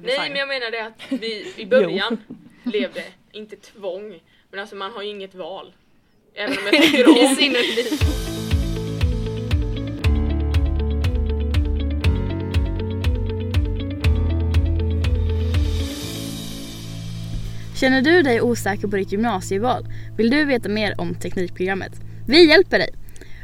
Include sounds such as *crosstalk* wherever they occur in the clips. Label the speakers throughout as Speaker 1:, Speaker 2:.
Speaker 1: Nej
Speaker 2: design.
Speaker 1: men jag menar det att vi i början levde, inte tvång, men alltså man har ju inget val. Även om jag tycker om inuti.
Speaker 3: Känner du dig osäker på ditt gymnasieval? Vill du veta mer om Teknikprogrammet? Vi hjälper dig!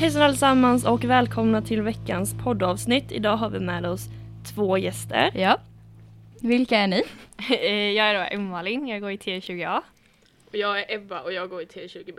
Speaker 4: Hejsan allesammans och välkomna till veckans poddavsnitt. Idag har vi med oss två gäster.
Speaker 5: Ja. Vilka är ni?
Speaker 6: Eh, Jag är då Emma-Malin, jag går i T20A.
Speaker 1: Och jag är Ebba och jag går i T20B.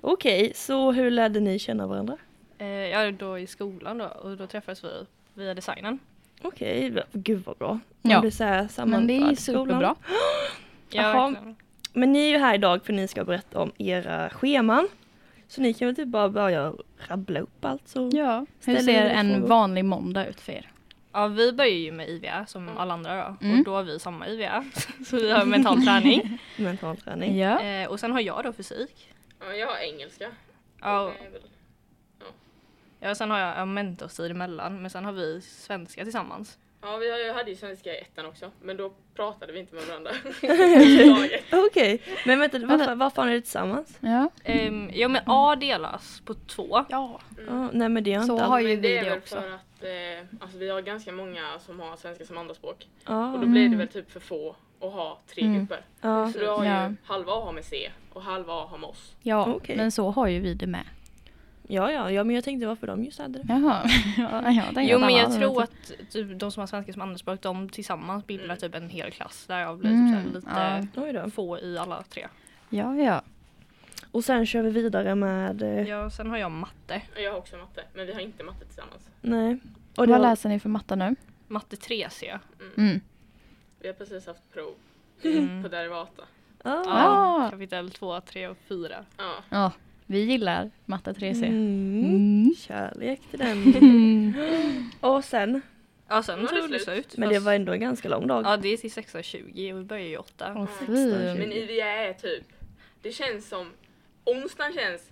Speaker 4: Okej, så hur lärde ni känna varandra?
Speaker 6: Eh, Jag är då i skolan då och då träffades vi via designen.
Speaker 4: Okej, v- gud vad bra.
Speaker 5: Ja.
Speaker 4: Om det så här
Speaker 5: Men det är ju
Speaker 4: sammanförs i skolan.
Speaker 5: superbra.
Speaker 6: Ja,
Speaker 4: Jaha.
Speaker 6: verkligen.
Speaker 4: Men ni är ju här idag för ni ska berätta om era scheman. Så ni kan väl typ bara börja rabbla upp allt så.
Speaker 5: Ja. Hur
Speaker 4: Ställer
Speaker 5: ser
Speaker 4: ni
Speaker 5: en
Speaker 4: frågor?
Speaker 5: vanlig måndag ut för er?
Speaker 6: ja, vi börjar ju med IVA som alla andra då
Speaker 5: Mm.
Speaker 6: och då har vi samma IVA. *laughs* Så vi har mental träning.
Speaker 4: mental träning.
Speaker 5: *laughs* Ja.
Speaker 6: Eh, Och sen har jag då fysik.
Speaker 1: Ja, jag har engelska.
Speaker 6: Ja, och-
Speaker 1: Det är väl-
Speaker 6: ja, och sen har jag ja, mentorstid emellan men sen har vi svenska tillsammans.
Speaker 1: Ja, vi har- jag hade ju svenska i ettan också, men då pratade vi inte med varandra. Överhuvudtaget.
Speaker 4: Okej, men vänta, varför,
Speaker 5: Vänta.
Speaker 4: varför har ni det tillsammans?
Speaker 5: ja.
Speaker 6: Ehm, Ja men A delas på två.
Speaker 5: ja.
Speaker 4: Ja, nej men det har jag
Speaker 5: Mm. Så
Speaker 4: inte
Speaker 5: har
Speaker 4: alls.
Speaker 5: ju
Speaker 1: Men det
Speaker 5: vi
Speaker 1: är
Speaker 5: det
Speaker 1: väl
Speaker 5: också.
Speaker 1: för att eh, alltså, vi har ganska många som har svenska som andraspråk.
Speaker 4: Ja,
Speaker 1: Och då blir det väl typ för få att ha tre grupper.
Speaker 4: Mm. ja.
Speaker 1: Så du har
Speaker 5: Ja.
Speaker 1: ju halva A har med C och halva A har med oss.
Speaker 5: Ja,
Speaker 4: Okej.
Speaker 5: men så har ju vi det med.
Speaker 4: Ja, ja, ja, men jag tänkte varför de just hade det.
Speaker 5: Jaha. *laughs* Ja, ja, det är
Speaker 6: Jo
Speaker 5: något
Speaker 6: men jag
Speaker 5: annat.
Speaker 6: tror att typ, de som har svenska som andraspråk de tillsammans bildar typ en hel klass där jag blir typ så här
Speaker 5: Mm,
Speaker 6: lite
Speaker 4: Oj då.
Speaker 6: få i alla tre.
Speaker 5: Ja, ja.
Speaker 4: Och sen kör vi vidare med... eh,
Speaker 6: Ja, sen har jag matte.
Speaker 1: Och Jag har också matte, men vi har inte matte tillsammans.
Speaker 4: Nej. Och det
Speaker 5: Vad
Speaker 4: var,
Speaker 5: läser ni för matta nu?
Speaker 6: Matte 3 ser jag.
Speaker 5: Mm.
Speaker 1: Vi har precis haft prov
Speaker 6: Mm.
Speaker 1: på derivata.
Speaker 4: ah.
Speaker 6: Ja,
Speaker 5: Ah.
Speaker 6: kapitel 2, 3 och 4.
Speaker 1: Ja.
Speaker 5: Ja, vi gillar matta 3C.
Speaker 4: Mm.
Speaker 5: Mm.
Speaker 4: Kärlek till
Speaker 5: *laughs*
Speaker 4: den. och sen.
Speaker 6: Ja, sen
Speaker 1: Nu var det
Speaker 6: tog det
Speaker 1: slut.
Speaker 6: slut.
Speaker 4: Men det
Speaker 6: Fast-
Speaker 4: var ändå en ganska lång dag.
Speaker 6: Ja, det är till 16.20 och vi börjar ju 8.
Speaker 5: Åh
Speaker 1: Men
Speaker 4: Mm.
Speaker 5: fint.
Speaker 1: IVA är typ, det känns som, onsdagen känns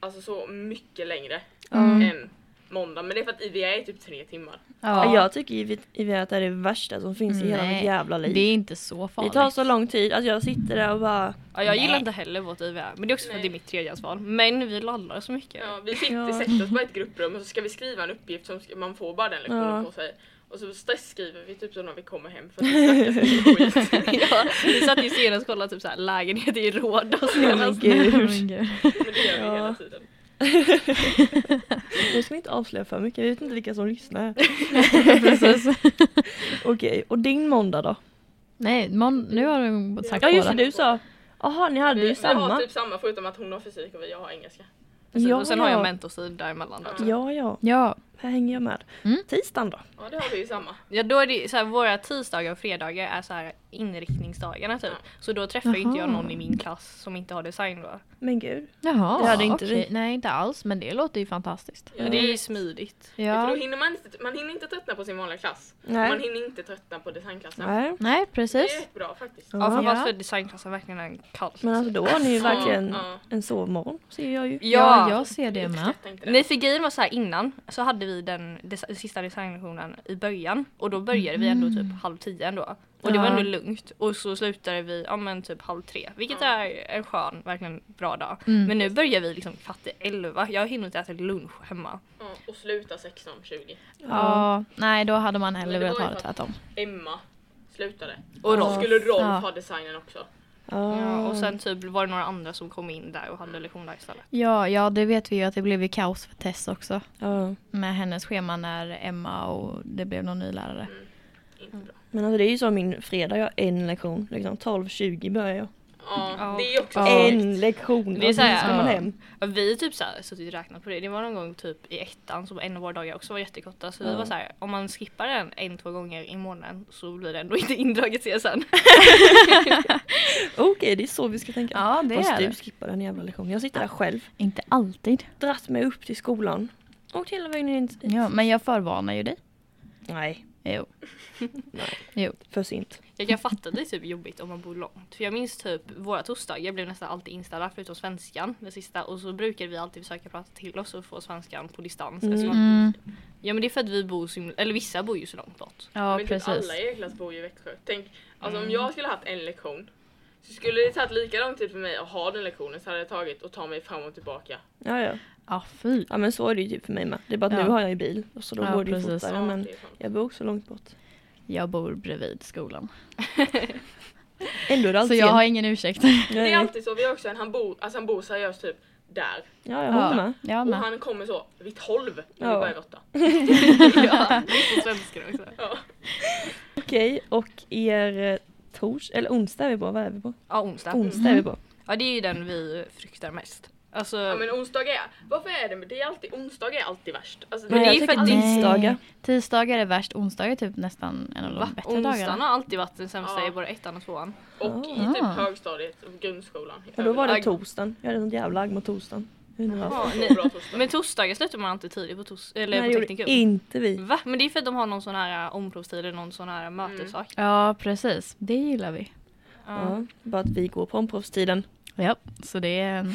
Speaker 1: alltså så mycket längre än måndag. Men det är för att IVA är typ tre timmar.
Speaker 4: Ja,
Speaker 5: Ja,
Speaker 4: Jag tycker ju vi att det är det värsta som finns i hela
Speaker 5: Mm, Nej,
Speaker 4: mitt jävla liv.
Speaker 5: det är inte så
Speaker 4: Det
Speaker 5: farligt.
Speaker 4: tar så lång tid. Alltså jag sitter där och
Speaker 5: *laughs*
Speaker 4: bara...
Speaker 6: Ja, jag gillar
Speaker 5: Nej.
Speaker 6: inte heller vårt IVA. Men det är också för
Speaker 1: Nej.
Speaker 6: att det är mitt tredjehandsval. Men vi lallar så mycket.
Speaker 1: Ja, vi sitter,
Speaker 4: Ja.
Speaker 1: sätter oss på ett grupprum och så ska vi skriva en uppgift som ska, man får bara den lektionen
Speaker 4: Ja.
Speaker 1: på sig. Och så stresskriver vi typ så när vi kommer hem för att vi snackar så mycket skit.
Speaker 4: *laughs*
Speaker 6: Ja, vi satt ju senast och kollade typ så här, lägenhet i Råda senast.
Speaker 4: Gud.
Speaker 1: Men det gör vi
Speaker 4: Ja.
Speaker 1: hela tiden.
Speaker 4: Nu ska vi inte avslöja för mycket. Jag vet inte vilka som lyssnar.
Speaker 5: *laughs* Precis.
Speaker 4: *laughs* Okej, och din måndag då?
Speaker 5: Nej, mon- nu har du sagt
Speaker 4: Ja just
Speaker 5: båda.
Speaker 4: det, du sa... Jaha, ni hade
Speaker 1: Vi,
Speaker 4: ju
Speaker 1: vi har
Speaker 4: samma.
Speaker 1: typ samma förutom att hon har fysik och jag har engelska.
Speaker 4: Ja,
Speaker 6: och sen har jag
Speaker 4: ja.
Speaker 6: mentorstid däremellan också.
Speaker 4: Ja, ja.
Speaker 5: Ja,
Speaker 4: Här hänger jag med.
Speaker 5: Mm.
Speaker 4: Tisdagen då?
Speaker 1: Ja det har vi ju samma.
Speaker 6: Ja då är det så här, våra tisdagar och fredagar är så här inriktningsdagarna typ. Så då träffar ju inte jag
Speaker 5: Jaha.
Speaker 6: någon i min klass som inte har design då.
Speaker 4: Men gud.
Speaker 5: jaha.
Speaker 4: Det hade inte
Speaker 5: okej.
Speaker 4: vi.
Speaker 5: Nej, inte alls, men det låter ju fantastiskt.
Speaker 1: Ja.
Speaker 6: Men det är ju smidigt.
Speaker 1: För
Speaker 5: Ja.
Speaker 1: då hinner man, inte, man hinner inte tröttna på sin vanliga klass.
Speaker 4: Nej.
Speaker 1: Man hinner inte tröttna på designklassen.
Speaker 4: Nej.
Speaker 5: Nej,
Speaker 1: Det är
Speaker 5: precis.
Speaker 1: rätt bra faktiskt.
Speaker 6: Ja, för
Speaker 4: Ja.
Speaker 6: varför designklassen verkligen är en kallt.
Speaker 4: Men alltså då har ni ju verkligen
Speaker 1: Ja.
Speaker 4: en sovmorgon. Ser jag ju.
Speaker 6: Ja,
Speaker 5: jag ser det med.
Speaker 1: Uppskattar inte det.
Speaker 6: Nej för grejen var så här innan så hade vi den des- sista designlektionen i början och då började vi ändå typ halv tio ändå. Och det var
Speaker 4: Mm. Ja.
Speaker 6: ändå lugnt och så slutade vi ja men typ halv tre vilket är en skön, verkligen bra dag.
Speaker 4: Mm.
Speaker 5: Mm.
Speaker 6: Men nu börjar vi liksom kvart i elva, jag hinner inte äta lunch hemma.
Speaker 1: Ja, och sluta 16.20.
Speaker 5: Ja. Nej, då hade man hellre
Speaker 1: Men det
Speaker 5: velat
Speaker 1: var
Speaker 5: ha
Speaker 1: ju
Speaker 5: det
Speaker 1: för att-
Speaker 5: tvärtom.
Speaker 1: Emma slutade.
Speaker 6: Och
Speaker 1: Och
Speaker 6: Rolf.
Speaker 1: då skulle Rolf
Speaker 5: Ja.
Speaker 1: ha designen också.
Speaker 6: Ja,
Speaker 4: Ja.
Speaker 6: och sen typ var det några andra som kom in där och hade lektion där istället.
Speaker 5: Ja, ja, det vet vi ju att det blev ju kaos för Tess också.
Speaker 4: Ja.
Speaker 5: Med hennes schema när Emma och det blev någon ny lärare.
Speaker 1: Inte bra.
Speaker 4: Men alltså det är ju så min fredag, jag har en lektion. Liksom 12.20 börjar jag.
Speaker 1: Ja. Ja,
Speaker 6: Ja.
Speaker 1: det är också
Speaker 5: Ja.
Speaker 1: så.
Speaker 4: En lektion,
Speaker 6: Det är
Speaker 4: och
Speaker 6: så
Speaker 4: sen
Speaker 6: här,
Speaker 4: ska man
Speaker 5: ja.
Speaker 4: hem.
Speaker 6: Ja, Vi har typ så här, suttit och räknat på det. Det var någon gång typ i ettan som en av våra dagar också var jättekorta. Så vi var så här, om man skippar den en, två gånger i månaden så blir det ändå inte *laughs* indraget
Speaker 5: *laughs*
Speaker 6: CSN.
Speaker 4: Okej, det är så vi ska tänka.
Speaker 5: Ja, det
Speaker 4: Fast
Speaker 5: är
Speaker 4: du
Speaker 5: det.
Speaker 4: skippar den jävla lektionen. Jag sitter där själv.
Speaker 5: Inte alltid.
Speaker 4: Dratt mig upp till skolan. Åkt hela vägen in. hit.
Speaker 5: Ja, men jag förvarnar ju dig.
Speaker 4: Nej,
Speaker 5: Jo. jo.
Speaker 4: för sent.
Speaker 6: Jag kan fatta att det är typ jobbigt om man bor långt. För jag minns typ våra torsdagar blev nästan alltid inställda förutom svenskan, den sista. Och så brukade vi alltid försöka prata till oss och få svenskan på distans. Eftersom att-
Speaker 5: Mm.
Speaker 6: Ja men det är för att vi bor så himla, eller vissa bor ju så långt
Speaker 5: *laughs*
Speaker 6: bort.
Speaker 5: Ja,
Speaker 1: men typ
Speaker 5: precis.
Speaker 1: alla i er klass bor ju i Växjö. Tänk, alltså om jag skulle haft en lektion så skulle det tagit lika lång tid för mig att ha den lektionen så hade det tagit att ta mig fram och tillbaka.
Speaker 4: Ja, ja.
Speaker 5: Ja, fy.
Speaker 4: ja, men så är det ju typ för mig med. Det är bara att
Speaker 5: Ja.
Speaker 4: nu har jag ju bil. Och så då
Speaker 5: Ja,
Speaker 4: går det ju
Speaker 5: precis.
Speaker 4: fortare.
Speaker 1: Ja,
Speaker 4: Men
Speaker 1: det är sant.
Speaker 4: jag bor också långt bort.
Speaker 5: Jag bor bredvid skolan.
Speaker 4: Ändå är det
Speaker 5: Så
Speaker 4: alltid
Speaker 5: jag har
Speaker 4: sent.
Speaker 5: ingen ursäkt. *laughs*
Speaker 1: Det
Speaker 4: Nej,
Speaker 1: är
Speaker 4: nej.
Speaker 1: alltid så, vi har också en, han bor, alltså han bor seriöst typ där.
Speaker 4: Ja, jag håller
Speaker 5: Ja,
Speaker 4: med.
Speaker 5: jag
Speaker 1: Och
Speaker 5: med.
Speaker 1: han kommer så vid 12 när vi
Speaker 4: Ja.
Speaker 1: börjar vid 8.
Speaker 6: Riktigt svenskar också.
Speaker 4: Okej, och er eh, tors... Eller onsdag är vi på. Vad är vi på?
Speaker 6: Ja onsdag.
Speaker 4: Onsdag är vi
Speaker 5: Mm.
Speaker 4: på.
Speaker 6: Ja det är ju den vi fruktar mest. Alltså,
Speaker 1: Ja men onsdagar är, varför är det, det är alltid, onsdagar är alltid värst. Alltså,
Speaker 4: Men
Speaker 1: det
Speaker 4: jag
Speaker 1: är för
Speaker 4: tycker
Speaker 1: att det-
Speaker 4: tisdagar.
Speaker 5: Nej. Tisdagar är värst. Onsdagar är typ nästan en av de
Speaker 6: va?
Speaker 5: bättre
Speaker 6: Onsdagen
Speaker 5: dagarna.
Speaker 6: har alltid varit den sämsta
Speaker 1: Ja.
Speaker 6: i både ettan och tvåan.
Speaker 1: och i typ
Speaker 5: Ah.
Speaker 1: högstadiet och grundskolan.
Speaker 4: Och då var det
Speaker 6: Agg.
Speaker 4: torsdagen. Jag hade sånt jävla agg mot torsdagen. Jag undrar varför.
Speaker 1: Ja,
Speaker 6: nej.
Speaker 1: bra torsdag.
Speaker 6: Men torsdagar slutar man alltid tidigt på, tors-
Speaker 4: Nej,
Speaker 6: eller på
Speaker 4: det gjorde
Speaker 6: teknikum.
Speaker 4: inte
Speaker 5: Mm.
Speaker 4: vi.
Speaker 6: Va? Men det är för att de har någon sån här omprovstid eller någon sån här äh, mötessak.
Speaker 5: Ja, precis. Det gillar vi.
Speaker 6: Ja.
Speaker 1: Mm.
Speaker 4: Ja, bara att vi går på omproffstiden. *laughs*
Speaker 5: Ja, så det är en...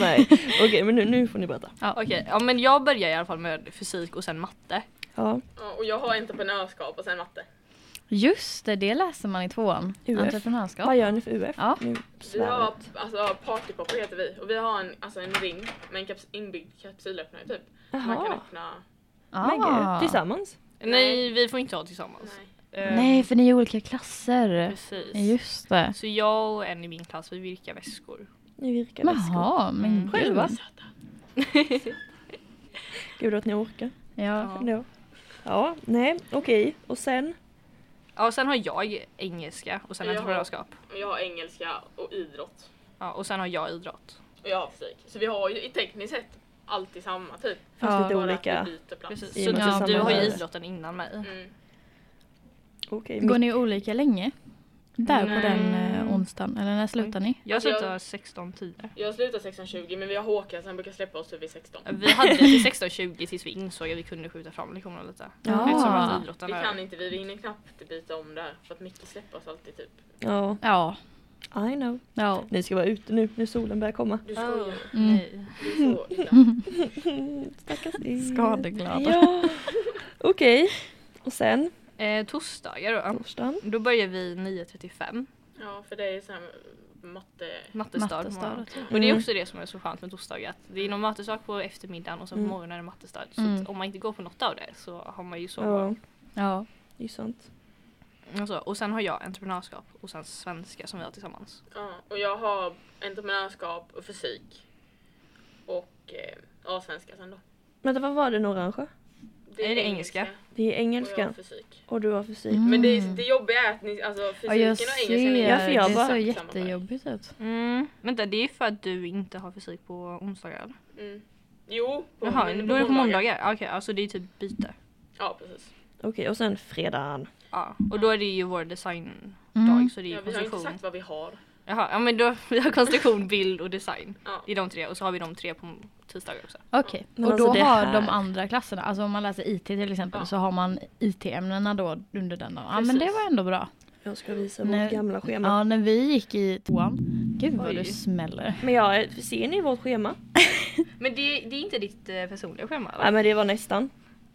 Speaker 4: Nej, okej men nu, nu får ni berätta.
Speaker 6: Okej, ja, men jag börjar i alla fall med fysik och sen matte.
Speaker 4: Ja,
Speaker 1: Ja, och jag har entreprenörskap och sen matte.
Speaker 5: Just det, det läser man i tvåan.
Speaker 4: UF.
Speaker 5: Entreprenörskap.
Speaker 4: vad gör ni för UF?
Speaker 5: Ja.
Speaker 4: Nu
Speaker 1: Vi
Speaker 4: svär
Speaker 1: har
Speaker 4: jag.
Speaker 1: alltså, partypopper heter vi och vi har en, alltså, en ring med en kaps, inbyggd kapsylöppnare typ. Som Man kan
Speaker 4: Jaha.
Speaker 1: öppna.
Speaker 4: Men
Speaker 5: Ah.
Speaker 4: gud, tillsammans?
Speaker 6: Nej, vi får inte ha tillsammans.
Speaker 1: Nej.
Speaker 6: Eh,
Speaker 5: Nej, för ni är olika klasser.
Speaker 6: Precis.
Speaker 5: Just det.
Speaker 6: Så jag och en i min klass, vi
Speaker 1: *laughs*
Speaker 6: virkar väskor.
Speaker 4: Ni virkar väskor.
Speaker 5: Jaha, men
Speaker 6: Mm.
Speaker 5: gud.
Speaker 4: Själva? Gud att ni orkar.
Speaker 5: Ja.
Speaker 4: Ja, ja nej, okej. Och sen?
Speaker 6: Ja, och sen har jag engelska och sen
Speaker 1: Jaha.
Speaker 6: entreprenörskap.
Speaker 1: Och jag har engelska och idrott.
Speaker 6: Ja, och sen har jag idrott.
Speaker 1: Och jag har fysik. Så vi har ju i tekniskt sett alltid samma typ.
Speaker 4: Fast
Speaker 5: Ja,
Speaker 4: lite
Speaker 1: Bara
Speaker 4: olika.
Speaker 1: att vi byter plats.
Speaker 6: Precis.
Speaker 4: I och
Speaker 6: Så
Speaker 4: med
Speaker 5: att
Speaker 6: typ,
Speaker 5: vi
Speaker 6: du har ju
Speaker 4: sammanhör.
Speaker 6: idrotten innan mig.
Speaker 1: Mm.
Speaker 4: Okej,
Speaker 5: Går
Speaker 4: mitt-
Speaker 5: ni olika länge? Där
Speaker 6: Nej.
Speaker 5: på den eh, onsdagen? Eller när slutar ni?
Speaker 6: Jag
Speaker 1: Alltså, jag-
Speaker 6: slutar 16.10.
Speaker 1: Jag slutar 16.20 men vi har Håkan så han brukar släppa oss typ vid 16.
Speaker 6: Vi hade till 16.20 tills vi insåg att vi kunde skjuta fram lektionerna lite.
Speaker 5: Ja.
Speaker 6: Eftersom att idrotten
Speaker 1: Det
Speaker 6: är-
Speaker 1: kan inte vi, vi hinner knappt byta om där. För att Micke släpper oss alltid typ.
Speaker 4: Ja,
Speaker 5: Ja.
Speaker 4: I know.
Speaker 5: Ja.
Speaker 4: Ni ska vara ute nu när solen börjar komma.
Speaker 1: Du skojar.
Speaker 6: Ah.
Speaker 5: Mm.
Speaker 1: Du är
Speaker 6: *laughs*
Speaker 1: så illa.
Speaker 4: Stackars er.
Speaker 5: Skadeglada.
Speaker 4: Ja, *laughs* okej. Och sen?
Speaker 6: Eh, torsdagar då.
Speaker 4: Torsdagen?
Speaker 6: Då börjar vi 9.35.
Speaker 1: Ja för det är så här matte.
Speaker 6: Mattestad. på
Speaker 5: Mattestad.
Speaker 6: morgonen. Och
Speaker 5: Mm.
Speaker 6: det är också det som är så skönt med torsdagar. Att det är någon mattestad på eftermiddagen och sen på
Speaker 4: Mm.
Speaker 6: morgonen är det mattestad. Så
Speaker 5: Mm.
Speaker 6: att om man inte går på något av det så har man ju så
Speaker 4: Ja,
Speaker 5: Ja.
Speaker 4: det är sant.
Speaker 6: och, så. och sen har jag entreprenörskap och sen svenska som vi har tillsammans.
Speaker 1: Ja, och jag har entreprenörskap och fysik. Och eh, ja, svenska sen då.
Speaker 4: Vänta, vad var den orangea?
Speaker 6: Är det engelska?
Speaker 4: Det är
Speaker 1: Och jag har
Speaker 4: engelska.
Speaker 1: fysik.
Speaker 4: Och du har fysik.
Speaker 5: Mm.
Speaker 1: Men det, det jobbiga är att ni, alltså
Speaker 5: Ja,
Speaker 1: fysiken
Speaker 5: jag
Speaker 1: och engelskan är
Speaker 5: ser.
Speaker 4: för jag
Speaker 5: Det
Speaker 4: bara-
Speaker 5: såg
Speaker 1: exakt samma
Speaker 5: jättejobbigt ut.
Speaker 6: Mm. Vänta det är för att du inte har fysik på onsdagar eller?
Speaker 1: Mm. Jo, på,
Speaker 6: Jaha,
Speaker 1: men
Speaker 6: då är det på
Speaker 1: måndagar.
Speaker 6: måndagar? Okej, alltså det är typ byte.
Speaker 1: Ja, precis.
Speaker 4: Okej, och sen fredagen.
Speaker 6: Ja, och då är det ju vår designdag
Speaker 5: Mm.
Speaker 6: så det är ju
Speaker 1: Ja, vi har ju inte
Speaker 6: konstruktion.
Speaker 1: sagt vad vi har.
Speaker 6: Jaha, ja men då, *laughs* vi har konstruktion, bild och design.
Speaker 1: Ja.
Speaker 6: Det är de tre och så har vi de tre på tisdagar också.
Speaker 5: Okej,
Speaker 4: Men
Speaker 5: och då
Speaker 4: alltså det
Speaker 5: har
Speaker 4: här-
Speaker 5: de andra klasserna, alltså om man läser IT till exempel
Speaker 1: Ja.
Speaker 5: så har man IT-ämnena då under den dagen. Ja men det
Speaker 1: Precis.
Speaker 5: var ändå bra.
Speaker 4: Jag ska visa
Speaker 5: Nej.
Speaker 4: vårt gamla schema.
Speaker 5: Ja när vi gick i tvåan, gud vad
Speaker 6: Oj.
Speaker 5: du smäller.
Speaker 4: Men ja, ser ni vårt schema?
Speaker 6: Men det, det är inte ditt eh, personliga schema? va?
Speaker 4: Nej men det var nästan.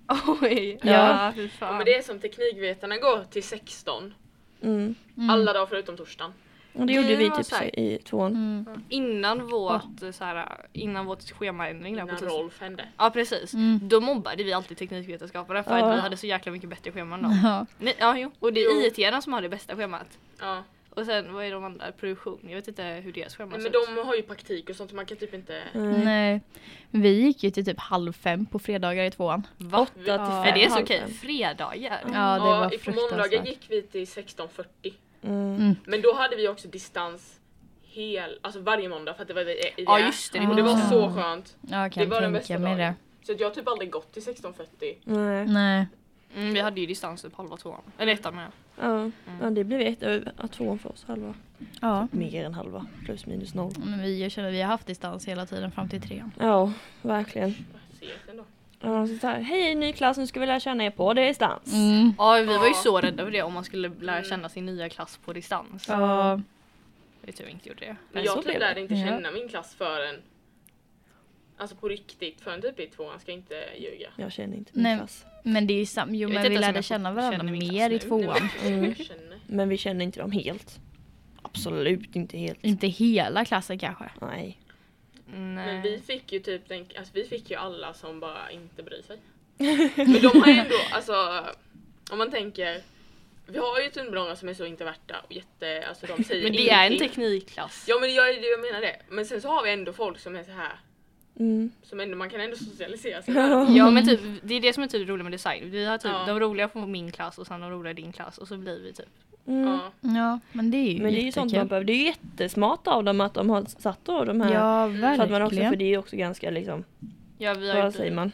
Speaker 6: *laughs* Oj,
Speaker 4: Ja.
Speaker 6: ja fy
Speaker 1: Ja.
Speaker 6: fan.
Speaker 1: men det är som teknikvetarna går till 16.
Speaker 4: Mm.
Speaker 5: Mm.
Speaker 1: Alla dagar förutom torsdagen.
Speaker 4: Och det
Speaker 6: Det
Speaker 4: gjorde vi
Speaker 6: var
Speaker 4: typ
Speaker 6: så här-
Speaker 4: så i tvåan.
Speaker 5: Mm.
Speaker 6: Innan vårt, eh, så här, innan vårt schemaändring där på
Speaker 1: Innan
Speaker 6: tisdag.
Speaker 1: Rolf hände.
Speaker 6: Ja precis.
Speaker 5: Mm.
Speaker 6: Då mobbade vi alltid teknikvetenskaperna för
Speaker 4: Ja.
Speaker 6: att vi hade så jäkla mycket bättre scheman då.
Speaker 5: Ja.
Speaker 6: Nej, ja, jo. Och det
Speaker 1: Jo.
Speaker 6: är it som har det bästa schemat.
Speaker 1: Ja.
Speaker 6: Och sen vad är de andra? Produktion? Jag vet inte hur deras schema
Speaker 1: Nej,
Speaker 6: ser
Speaker 1: men
Speaker 6: ut.
Speaker 1: de har ju praktik och sånt så man kan typ inte...
Speaker 4: Nej.
Speaker 5: Mm. Nej, vi gick ju till typ halv fem på fredagar i tvåan.
Speaker 6: Va?
Speaker 1: Vi-
Speaker 4: Åtta till
Speaker 5: Ja. Mm.
Speaker 4: fem.
Speaker 6: Är det så
Speaker 4: halv
Speaker 6: okej?
Speaker 4: fem.
Speaker 6: Fredagar?
Speaker 5: Ja det var
Speaker 1: på måndagar
Speaker 5: fruktansvärt.
Speaker 1: gick vi till 16.40.
Speaker 4: Mm.
Speaker 5: Mm.
Speaker 1: Men då hade vi också distans hel, alltså varje måndag för att det var i
Speaker 6: Ja just det, det
Speaker 1: Och det
Speaker 6: borde
Speaker 1: var
Speaker 6: vara
Speaker 1: så skönt.
Speaker 5: Jag
Speaker 1: Det
Speaker 5: kan
Speaker 1: var den
Speaker 5: tänka
Speaker 1: bästa
Speaker 5: mig det.
Speaker 1: dagen. Så att jag har typ aldrig gått till 1640.
Speaker 4: Nej.
Speaker 5: Nej.
Speaker 6: Mm, vi hade ju distans typ halva tvåan. Eller ettan menar jag.
Speaker 4: Ja. ja, det blev ett över ja, tvåan för oss, halva.
Speaker 5: Ja.
Speaker 4: Mer än halva, plus minus noll.
Speaker 5: Men vi, jag känner att vi har haft distans hela tiden fram till trean.
Speaker 4: Ja, verkligen.
Speaker 1: Ses ändå.
Speaker 4: Ja, så där. Hej ny klass, nu ska vi lära känna er på distans.
Speaker 5: Mm.
Speaker 6: Ja vi var ju så rädda för det om man skulle lära känna sin nya klass på distans.
Speaker 5: Ja.
Speaker 6: Vi tur vi inte gjorde det.
Speaker 1: Men
Speaker 4: Ja, så
Speaker 1: jag typ
Speaker 4: blev det.
Speaker 1: lärde inte
Speaker 5: Ja.
Speaker 1: känna min klass förrän Alltså på riktigt förrän typ i tvåan ska jag inte ljuga.
Speaker 4: Jag känner inte min
Speaker 5: Nej.
Speaker 4: klass.
Speaker 5: Men det är ju sam- jo
Speaker 6: Jag vet
Speaker 5: men
Speaker 6: inte
Speaker 5: vi
Speaker 6: ens om
Speaker 5: lärde
Speaker 6: jag
Speaker 5: känna
Speaker 6: känner
Speaker 5: varandra
Speaker 6: min klass
Speaker 5: mer i
Speaker 1: *laughs*
Speaker 6: nu.
Speaker 5: tvåan.
Speaker 1: Mm. Känner.
Speaker 4: Men vi känner inte dem helt. Absolut inte helt.
Speaker 5: Inte hela klassen kanske.
Speaker 4: Nej.
Speaker 1: Men
Speaker 6: Mm, Nej.
Speaker 1: vi fick ju typ den, alltså vi fick ju alla som bara inte bryr
Speaker 6: *laughs*
Speaker 1: sig. Men de har ju ändå, alltså om man tänker Vi har ju tunnelbanevagnar som är så introverta och jätte, alltså de säger
Speaker 6: Men det är en
Speaker 1: ingenting.
Speaker 6: teknikklass.
Speaker 1: Ja men jag, jag menar det. Men sen så har vi ändå folk som är så här
Speaker 4: Mm.
Speaker 1: som ändå, man kan ändå socialisera sig.
Speaker 6: *laughs* Ja men typ, det är det som är typ roligt med design. Vi har typ
Speaker 1: Ja.
Speaker 6: de roliga från min klass och sen de roliga i din klass och så blir vi typ.
Speaker 4: Mm.
Speaker 1: Ja.
Speaker 5: Ja men det är ju
Speaker 4: Men det är ju sånt man behöver. Det är ju jättesmart av dem att de har satt då de här.
Speaker 5: Ja
Speaker 4: så att man också, för
Speaker 5: verkligen.
Speaker 4: det är ju också ganska liksom,
Speaker 6: Ja vi har ju
Speaker 4: vad säger man?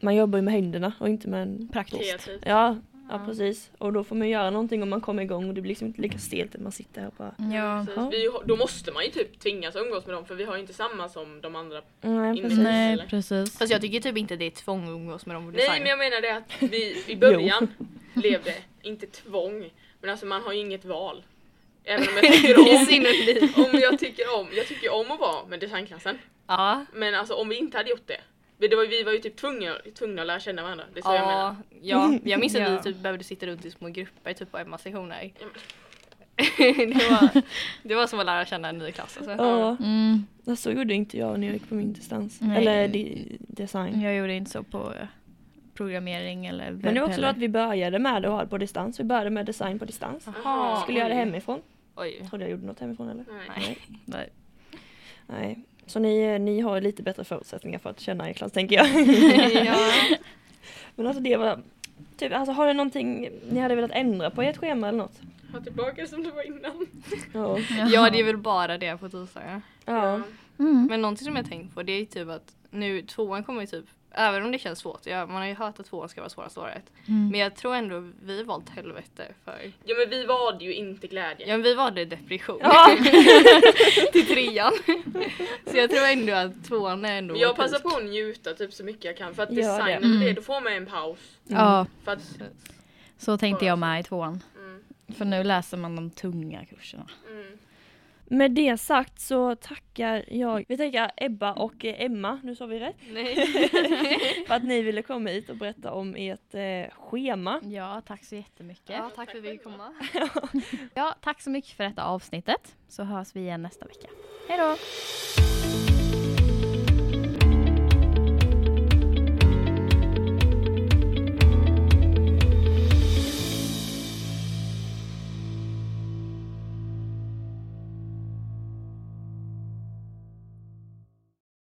Speaker 4: Man jobbar ju med händerna och inte med en
Speaker 5: Praktiskt.
Speaker 1: Kreativt.
Speaker 4: Ja, ja precis. Och då får man göra någonting om man kommer igång och det blir liksom inte lika stelt när man sitter här och bara
Speaker 5: Ja.
Speaker 1: Precis. Vi, har- då måste man ju typ tvingas umgås med dem för vi har ju inte samma som de andra.
Speaker 5: Mm.
Speaker 4: Nej
Speaker 1: precis.
Speaker 4: precis.
Speaker 5: Nej precis.
Speaker 6: Fast jag tycker typ inte det är ett tvång att umgås med dem på
Speaker 1: Nej
Speaker 6: design.
Speaker 1: men jag menar det att vi i början levde, inte tvång, men alltså man har ju inget val. Även om jag tycker om, om jag tycker om, jag tycker om att vara med designklassen.
Speaker 6: Ja.
Speaker 1: Men alltså om vi inte hade gjort det. Vi, det var, vi var ju typ tvungna, tvungna att lära känna varandra. Det är så jag menar.
Speaker 6: Ja, ja,
Speaker 4: *laughs*
Speaker 6: jag minns att
Speaker 5: Ja.
Speaker 6: vi typ behövde sitta runt i små grupper typ på Emma-sessioner. *laughs*
Speaker 4: *laughs*
Speaker 6: det, var, det var som att lära känna en ny klass alltså.
Speaker 4: Ja,
Speaker 5: Mm.
Speaker 4: men Alltså, så gjorde inte jag när jag gick på min distans.
Speaker 5: Nej.
Speaker 4: Eller di- design.
Speaker 5: Jag gjorde inte så på eh, programmering eller webb
Speaker 4: Men det var också då
Speaker 5: heller.
Speaker 4: att vi började med det och hade på distans. Vi började med design på distans.
Speaker 1: Jaha.
Speaker 4: Skulle göra det hemifrån. *laughs*
Speaker 6: Oj.
Speaker 4: Trodde jag gjorde något hemifrån eller?
Speaker 1: Nej.
Speaker 6: Nej.
Speaker 5: Nej.
Speaker 4: Nej. Så ni, ni har lite bättre förutsättningar för att känna er klass tänker jag.
Speaker 5: *laughs*
Speaker 6: ja.
Speaker 4: Men alltså det var Typ, alltså har ni någonting ni hade velat ändra på i ert schema eller något?
Speaker 1: Ha tillbaka det som det var innan.
Speaker 4: Ja.
Speaker 6: ja, det är väl bara det på tisdagar.
Speaker 4: ja.
Speaker 5: Mm.
Speaker 6: Men någonting som jag tänkt på det är ju typ att nu tvåan kommer ju typ Även om det känns svårt, ja, man har ju hört att tvåan ska vara svåraste året.
Speaker 5: Mm.
Speaker 6: Men jag tror ändå vi valt helvete för
Speaker 1: Ja men vi var ju inte glädje.
Speaker 6: Ja men vi valde depression
Speaker 4: Ja.
Speaker 6: *laughs* till trean. Så jag tror ändå att tvåan är ändå
Speaker 1: Men jag
Speaker 6: vår
Speaker 1: passar
Speaker 6: peak.
Speaker 1: på att njuta typ så mycket jag kan för att
Speaker 4: Gör det.
Speaker 1: designen,
Speaker 5: Mm.
Speaker 1: det, då får man en paus.
Speaker 5: Ja,
Speaker 1: För att,
Speaker 5: så tänkte jag med i tvåan.
Speaker 1: mm,
Speaker 5: För nu läser man de tunga kurserna.
Speaker 1: mm.
Speaker 4: Med det sagt så tackar jag, vi tackar Ebba och eh, Emma, nu sa vi rätt,
Speaker 6: Nej.
Speaker 4: för att ni ville komma hit och berätta om ert eh, schema.
Speaker 5: Ja, tack så jättemycket.
Speaker 6: Ja, tack för att vi fick komma.
Speaker 5: Ja, tack så mycket för detta avsnittet. Så hörs vi igen nästa vecka. Hej då!